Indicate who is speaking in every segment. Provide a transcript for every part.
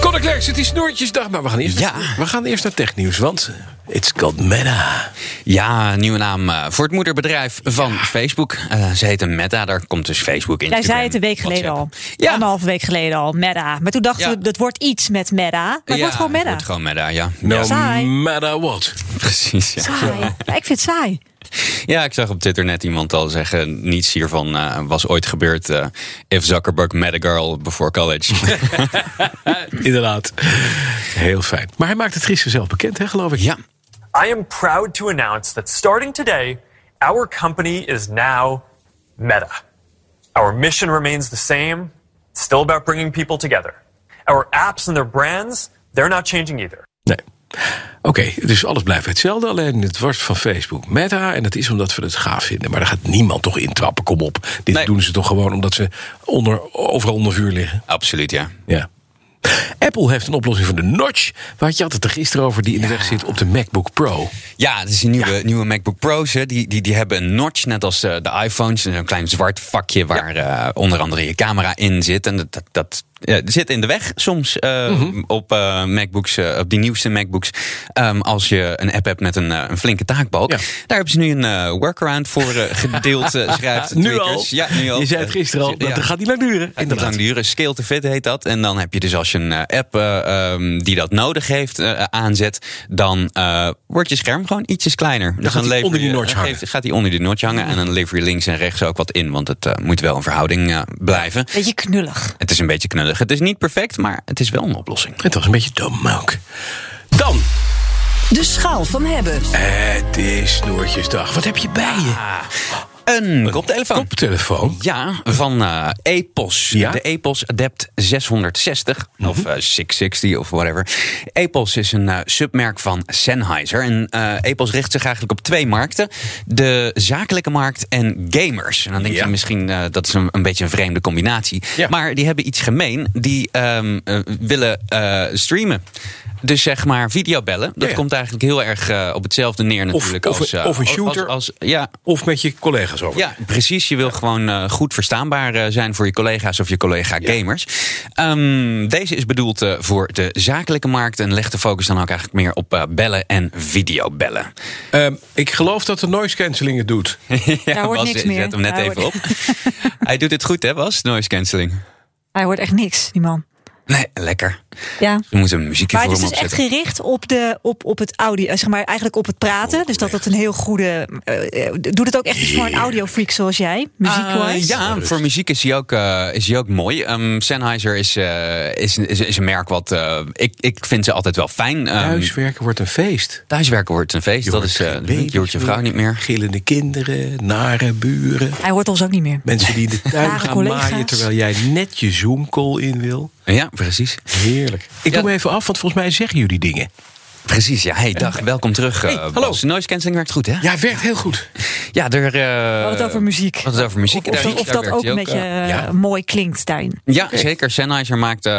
Speaker 1: Conor Klerk zit die snoertjesdag, maar we gaan eerst,
Speaker 2: Ja.
Speaker 1: we gaan eerst naar technieuws, want eh, it's called Meta.
Speaker 2: Ja, nieuwe naam eh, voor het moederbedrijf van Facebook. Eh, ze heten Meta, daar komt dus Facebook in.
Speaker 3: Jij zei het een week geleden al.
Speaker 2: Ja.
Speaker 3: Anderhalf week geleden al. Meta. Maar toen dachten
Speaker 2: Ja.
Speaker 3: we, dat wordt iets met Meta. Maar het
Speaker 2: ja,
Speaker 3: wordt gewoon
Speaker 2: Het
Speaker 3: Meta.
Speaker 2: wordt gewoon Meta, ja.
Speaker 1: No
Speaker 2: Ja,
Speaker 3: Saai.
Speaker 1: matter what.
Speaker 2: precies. Ja.
Speaker 3: Saai. Ja, ik vind het saai.
Speaker 2: ja, ik zag op Twitter net iemand al zeggen... niets hiervan eh, was ooit gebeurd. eh, if Zuckerberg met a girl before college.
Speaker 1: Inderdaad. Heel fijn. Maar hij maakt het gisteren zelf bekend, hè, geloof ik?
Speaker 2: ja,
Speaker 4: I am proud to announce that starting today, our company is now Meta. Our mission remains the same, it's still about bringing people together. Our apps and their brands, they're not changing either.
Speaker 1: Nee. Oké, dus alles blijft hetzelfde, alleen het wordt van Facebook Meta. En dat is omdat we het gaaf vinden. Maar daar gaat niemand toch intrappen, kom op. Dit
Speaker 2: Nee.
Speaker 1: doen ze toch gewoon omdat ze onder, overal onder vuur liggen.
Speaker 2: absoluut, ja.
Speaker 1: Ja. Apple heeft een oplossing voor de notch. Waar had je altijd er gisteren over die in de weg zit op de MacBook Pro.
Speaker 2: Ja, het is een nieuwe, nieuwe MacBook Pro's. Hè. Die, die, die hebben een notch, net als eh, de iPhones. Een klein zwart vakje waar eh, onder andere je camera in zit. En dat, dat, dat, eh, zit in de weg soms eh,
Speaker 1: Mhm.
Speaker 2: op eh, MacBooks, eh, op die nieuwste MacBooks. Ehm, als je een app hebt met een, eh, een flinke taakbalk.
Speaker 1: Ja.
Speaker 2: Daar hebben ze nu een eh, workaround voor eh, gedeeld, eh, schrijft
Speaker 1: Nu
Speaker 2: Tweakers.
Speaker 1: al?
Speaker 2: Ja, nu al.
Speaker 1: Je zei het gisteren al,
Speaker 2: Ja.
Speaker 1: dat gaat niet lang duren.
Speaker 2: Het moet
Speaker 1: Inderdaad.
Speaker 2: lang duren. Scale to fit heet dat. En dan heb je dus als je een eh, app eh, ehm, die dat nodig heeft eh, aanzet, dan eh, wordt je scherm gewoon ietsjes kleiner. dus
Speaker 1: gaat
Speaker 2: dan
Speaker 1: hij
Speaker 2: lever
Speaker 1: onder die
Speaker 2: je-
Speaker 1: notch
Speaker 2: dan
Speaker 1: hangen.
Speaker 2: geeft- gaat hij onder die notch hangen en dan lever je links en rechts ook wat in, want het eh, moet wel een verhouding eh, blijven.
Speaker 3: Beetje knullig.
Speaker 2: Het is een beetje knullig. Het is niet perfect, maar het is wel een oplossing.
Speaker 1: Het was een beetje dom ook. Dan,
Speaker 5: De schaal van hebben.
Speaker 1: het is Snoertjesdag. Wat heb je bij
Speaker 2: Ah,
Speaker 1: je?
Speaker 2: Een koptelefoon.
Speaker 1: Koptelefoon.
Speaker 2: Ja, van eh, Epos.
Speaker 1: Ja? Mhm.
Speaker 2: De Epos Adept 660. Of eh, 660 of whatever. Epos is een eh, submerk van Sennheiser. En eh, Epos richt zich eigenlijk op twee markten. De zakelijke markt en gamers. En dan denk
Speaker 1: Ja.
Speaker 2: je misschien, eh, dat is een, een beetje een vreemde combinatie.
Speaker 1: Ja.
Speaker 2: Maar die hebben iets gemeen. Die ehm, eh, willen eh, streamen. Dus zeg maar videobellen. Dat
Speaker 1: Ja, ja.
Speaker 2: komt eigenlijk heel erg eh, op hetzelfde neer natuurlijk.
Speaker 1: of
Speaker 2: als,
Speaker 1: een-
Speaker 2: eh,
Speaker 1: of een
Speaker 2: als-
Speaker 1: shooter.
Speaker 2: Als, als, ja,
Speaker 1: Of met je collega's over.
Speaker 2: ja, precies. Je wil gewoon eh, goed verstaanbaar eh, zijn voor je collega's of je collega-gamers. Ehm, deze is bedoeld eh, voor de zakelijke markt en legt de focus dan ook eigenlijk meer op eh, bellen en videobellen.
Speaker 1: Ehm, ik geloof dat de noise cancelling het doet.
Speaker 2: ja,
Speaker 3: hoort
Speaker 2: Bas,
Speaker 3: niks
Speaker 2: je
Speaker 3: meer.
Speaker 2: Zet hem net
Speaker 3: Daar
Speaker 2: even op.
Speaker 3: hoort-
Speaker 2: Hij doet het goed, hè, Bas? Noise cancelling.
Speaker 3: Hij hoort echt niks, die man.
Speaker 2: Nee, lekker.
Speaker 3: Ja.
Speaker 2: We moeten een muziekje
Speaker 3: Maar
Speaker 2: voor
Speaker 3: het is
Speaker 2: hem
Speaker 3: dus echt
Speaker 2: opzetten.
Speaker 3: gericht op, de, op, op het audio, eh, zeg maar eigenlijk op het
Speaker 2: Oh,
Speaker 3: praten. Dus dat dat een heel goede. eh, eh, doet het ook echt iets voor een audiofreak zoals jij, muziekwise?
Speaker 2: Eh, ja, voor muziek is hij ook, eh, is hij ook mooi. Ehm, Sennheiser is, eh, is, is, is een merk wat... eh, ik, ik vind ze altijd wel fijn. Ehm,
Speaker 1: Nou, Huiswerken wordt een feest.
Speaker 2: thuiswerken wordt een feest. dat
Speaker 1: hoort
Speaker 2: is, eh,
Speaker 1: geen
Speaker 2: je hoort je
Speaker 1: baby's
Speaker 2: vrouw niet meer.
Speaker 1: Gillende kinderen, nare buren.
Speaker 3: Hij hoort ons ook niet
Speaker 2: Eh,
Speaker 3: meer.
Speaker 1: Mensen die in de tuin
Speaker 3: Rare
Speaker 1: gaan
Speaker 3: collega's.
Speaker 1: maaien terwijl jij net je Zoom-call in wil.
Speaker 2: Ja, precies.
Speaker 1: Heerlijk. Ik
Speaker 2: Ja.
Speaker 1: doe me even af, want volgens mij zeggen jullie dingen.
Speaker 2: Precies, ja. Hey, dag, welkom terug. eh,
Speaker 1: hallo.
Speaker 2: Bas. Noise cancelling werkt goed, hè?
Speaker 1: Ja, werkt heel goed.
Speaker 2: ja er... eh,
Speaker 3: We hadden het over muziek.
Speaker 2: We hadden het over muziek.
Speaker 3: Of, of
Speaker 2: Daar-
Speaker 3: dat, of
Speaker 2: daar
Speaker 3: dat
Speaker 2: werkt
Speaker 3: ook
Speaker 2: hij
Speaker 3: een beetje
Speaker 2: eh,
Speaker 3: eh,
Speaker 1: ja.
Speaker 3: mooi klinkt daarin.
Speaker 2: Ja, zeker. Sennheiser maakt, eh,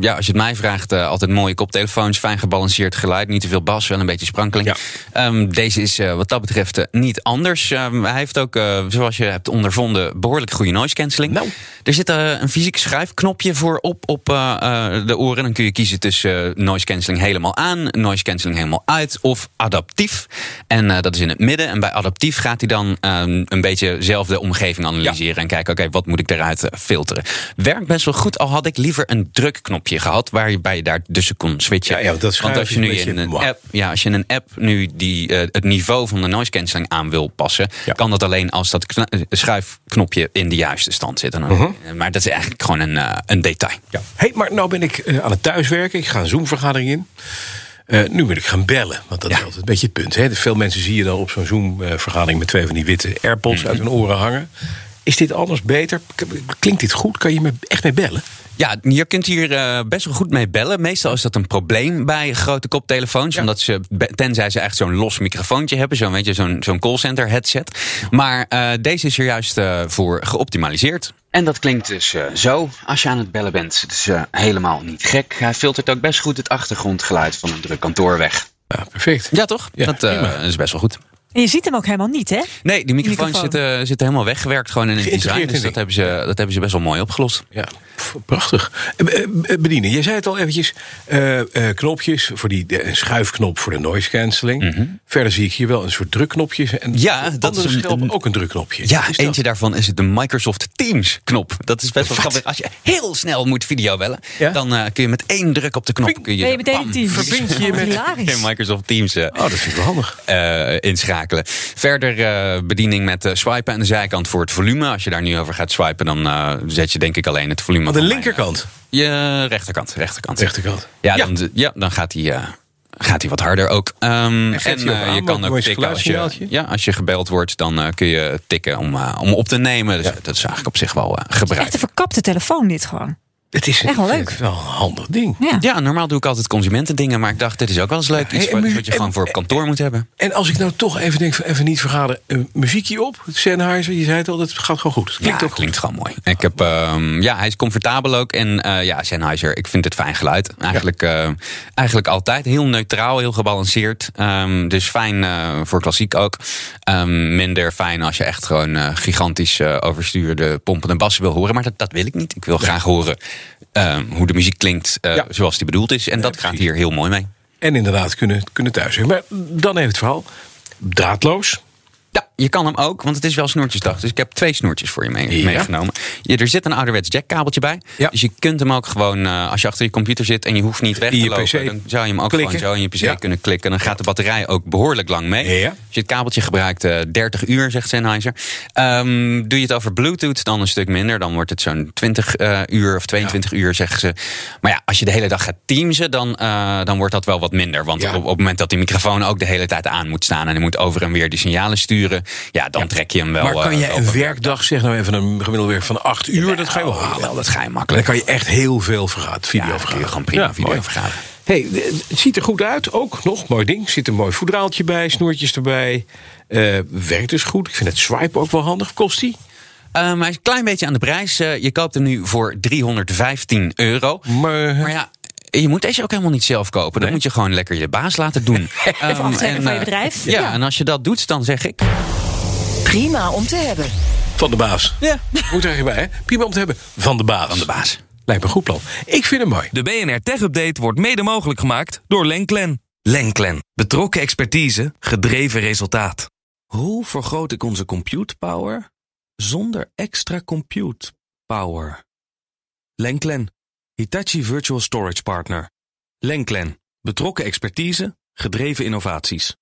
Speaker 2: ja, als je het mij vraagt, eh, altijd mooie koptelefoons. Fijn gebalanceerd geluid. Niet te veel bas, wel een beetje sprankeling.
Speaker 1: Ja.
Speaker 2: Ehm, deze is eh, wat dat betreft eh, niet anders. Ehm, hij heeft ook, eh, zoals je hebt ondervonden, behoorlijk goede noise cancelling.
Speaker 1: Nou.
Speaker 2: Er zit eh, een fysiek schuifknopje voor op, op eh, eh, de oren. Dan kun je kiezen tussen eh, noise cancelling helemaal aan, noise cancelling helemaal uit of adaptief. En eh, dat is in het midden. En bij adaptief gaat hij dan ehm, een beetje zelf de omgeving analyseren en kijken, oké, wat moet ik daaruit eh, filteren. Werkt best wel goed, al had ik liever een drukknopje gehad waarbij je daar tussen kon switchen.
Speaker 1: Ja, ja, dat
Speaker 2: Want
Speaker 1: schuif
Speaker 2: als
Speaker 1: is
Speaker 2: je nu
Speaker 1: een beetje
Speaker 2: in een
Speaker 1: mwah.
Speaker 2: app, ja, als je in een app nu die, eh, het niveau van de noise cancelling aan wil passen,
Speaker 1: Ja.
Speaker 2: kan dat alleen als dat kna- eh, schuifknopje in de juiste stand zit. En dan- eh, Maar dat is eigenlijk gewoon een, eh, een detail.
Speaker 1: Mhm. Ja. hey, maar nou ben ik eh, aan het thuiswerken. Ik ga een Zoom-vergadering in. Eh, nu ben ik gaan bellen, want dat is altijd een beetje het punt. Hè? Veel mensen zie je dan op zo'n Zoom-vergadering... met twee van die witte Mm. AirPods uit hun oren hangen. Is dit anders, beter? K- Klinkt dit goed? Kan je me echt mee bellen?
Speaker 2: Ja, je kunt hier eh, best wel goed mee bellen. Meestal is dat een probleem bij grote koptelefoons. Omdat ze, be- tenzij ze echt zo'n los microfoontje hebben. Zo'n weet je, zo'n zo'n callcenter headset. Maar eh, deze is er juist eh, voor geoptimaliseerd.
Speaker 6: En dat klinkt dus eh, zo als je aan het bellen bent. Het is eh, helemaal niet gek. Hij filtert ook best goed het achtergrondgeluid van een druk kantoor weg.
Speaker 1: Ja, perfect.
Speaker 2: Ja, toch?
Speaker 1: Ja,
Speaker 2: dat eh,
Speaker 1: prima.
Speaker 2: is best wel goed.
Speaker 3: En je ziet hem ook helemaal niet, hè?
Speaker 2: Nee, die microfoons
Speaker 3: Microfoon.
Speaker 2: zitten, zitten helemaal weggewerkt gewoon in het design.
Speaker 1: Geïntegreerd
Speaker 2: Dus
Speaker 1: in
Speaker 2: dat hebben, ze, dat hebben ze best wel mooi opgelost.
Speaker 1: Ja, pff, prachtig. Eh, eh, eh, Bedienen, jij zei het al eventjes. eh, eh, knopjes, voor die, eh, een schuifknop voor de noise cancelling. Verder zie ik hier wel een soort drukknopjes. En
Speaker 2: Mhm. Ja,
Speaker 1: op
Speaker 2: dat is
Speaker 1: andere
Speaker 2: een-
Speaker 1: schelpen
Speaker 2: een-
Speaker 1: ook een drukknopje.
Speaker 2: Ja,
Speaker 1: Is dat-
Speaker 2: eentje daarvan is het de Microsoft Teams knop. Dat is best wel grappig. Als je heel snel moet videobellen,
Speaker 1: Ja?
Speaker 2: dan eh, kun je met één druk op de knop... Kun je,
Speaker 3: Ben je meteen
Speaker 2: bam,
Speaker 3: in Teams?
Speaker 1: verbind je je
Speaker 3: Wat
Speaker 1: met-
Speaker 3: Hilarisch.
Speaker 2: in Microsoft Teams eh,
Speaker 1: Oh, dat vind ik wel handig.
Speaker 2: eh, inschakelen. Verder eh, bediening met eh, swipen aan de zijkant voor het volume. Als je daar nu over gaat swipen, dan eh, zet je denk ik alleen het volume...
Speaker 1: Aan de
Speaker 2: van
Speaker 1: linkerkant.
Speaker 2: mijn, eh, je rechterkant, rechterkant.
Speaker 1: Rechterkant.
Speaker 2: Ja, Dan, ja, dan gaat hij. eh, Gaat hij wat harder ook. Ehm, en
Speaker 1: geeft hij ook
Speaker 2: eh,
Speaker 1: aan,
Speaker 2: je
Speaker 1: want
Speaker 2: kan
Speaker 1: mooi
Speaker 2: ook
Speaker 1: is het
Speaker 2: tikken als je,
Speaker 1: geluidssignaaltje.
Speaker 2: ja, als je gebeld wordt, dan eh, kun je tikken om, eh, om op te nemen. Dus dat is eigenlijk op zich wel eh,
Speaker 3: Echt een
Speaker 2: gebruikt.
Speaker 3: verkapte telefoon, dit gewoon.
Speaker 1: Het is
Speaker 3: Echt wel
Speaker 1: ik vind
Speaker 3: leuk.
Speaker 1: het wel een handig ding.
Speaker 3: Ja.
Speaker 2: Ja, normaal doe ik altijd consumentendingen, maar ik dacht, dit is ook wel eens leuk.
Speaker 1: Ja,
Speaker 2: Iets
Speaker 1: en
Speaker 2: wat,
Speaker 1: mu-
Speaker 2: wat je gewoon
Speaker 1: en-
Speaker 2: voor op kantoor moet hebben.
Speaker 1: En als ik nou toch even denk, van even niet vergaderen, een muziekje op, het Sennheiser, je zei het al, dat gaat gewoon goed. Het
Speaker 2: Ja,
Speaker 1: Klinkt ook
Speaker 2: klinkt gewoon mooi. Ik heb, ehm, ja, hij is comfortabel ook. En eh ja, Sennheiser, ik vind het fijn geluid. Eigenlijk, eh, eigenlijk altijd heel neutraal, heel gebalanceerd. Ehm, dus fijn eh, voor klassiek ook. Ehm, minder fijn als je echt gewoon eh, gigantisch eh, overstuurde pompende bassen wil horen. Maar dat, dat wil ik niet. Ik wil graag horen ehm, hoe de muziek klinkt eh,
Speaker 1: Ja.
Speaker 2: zoals die bedoeld is. En dat gaat hier heel mooi mee.
Speaker 1: En inderdaad, kunnen, kunnen thuis. zijn. Maar dan even het verhaal. Draadloos.
Speaker 2: Ja, je kan hem ook, want het is wel snoertjesdag. Dus ik heb twee snoertjes voor je mee-
Speaker 1: Ja.
Speaker 2: meegenomen. Je, er zit een ouderwets jackkabeltje bij.
Speaker 1: Ja.
Speaker 2: Dus je kunt hem ook gewoon, eh, als je achter je computer zit en je hoeft niet weg
Speaker 1: In
Speaker 2: te
Speaker 1: je
Speaker 2: lopen,
Speaker 1: PC
Speaker 2: dan zou je hem ook
Speaker 1: klikken.
Speaker 2: gewoon zo in je PC
Speaker 1: Ja.
Speaker 2: kunnen klikken. Dan gaat de batterij ook behoorlijk lang mee.
Speaker 1: Ja.
Speaker 2: Als je het kabeltje gebruikt, eh 30 uur, zegt Sennheiser. Ehm, doe je het over Bluetooth, dan een stuk minder. Dan wordt het zo'n 20 eh, uur of 22 uur, zeggen ze. Maar ja, als je de hele dag gaat teamsen, dan, eh, dan wordt dat wel wat minder. Want
Speaker 1: Ja.
Speaker 2: op, op het moment dat die microfoon ook de hele tijd aan moet staan... en hij moet over en weer die signalen sturen... ja, dan trek je hem wel...
Speaker 1: maar kan
Speaker 2: eh,
Speaker 1: jij
Speaker 2: wel
Speaker 1: een
Speaker 2: wat-
Speaker 1: werkdag, zeg nou even een gemiddelde werk van acht uur, dat ga je wel
Speaker 2: Oh,
Speaker 1: halen.
Speaker 2: wel, dat ga je
Speaker 1: Dan
Speaker 2: makkelijk.
Speaker 1: kan je echt heel veel vergaderen, video
Speaker 2: Ja, dan kun je
Speaker 1: vergaderen.
Speaker 2: gewoon prima video
Speaker 1: mooi.
Speaker 2: vergaderen.
Speaker 1: Hey, de- het ziet er goed uit, ook nog, mooi ding. Zit een mooi voedraaltje bij, snoertjes erbij. Eh, werkt dus goed. Ik vind het swipe ook wel handig. Kost die?
Speaker 2: Eh, maar een klein beetje aan de prijs. Eh, je koopt hem nu voor 315 euro.
Speaker 1: Maar-
Speaker 2: maar ja, je moet deze ook helemaal niet zelf kopen. Dan moet je gewoon lekker je baas laten doen. Even
Speaker 3: aftrekken van je bedrijf.
Speaker 2: Ja,
Speaker 3: Ja.
Speaker 2: en als je dat doet, dan zeg ik...
Speaker 5: Prima om te hebben.
Speaker 1: Van de baas. Ja. Moet er eigenlijk bij, hè? Prima om te hebben. Van de baas. Van de
Speaker 2: baas.
Speaker 1: Lijkt me een goed plan. Ik vind hem mooi.
Speaker 7: De BNR Tech Update wordt mede mogelijk gemaakt door Lenklen. Lenklen. Betrokken expertise, gedreven resultaat. Hoe vergroot ik onze compute power zonder extra compute power? Lenklen. Hitachi Virtual Storage Partner. Lenklen. Betrokken expertise, gedreven innovaties.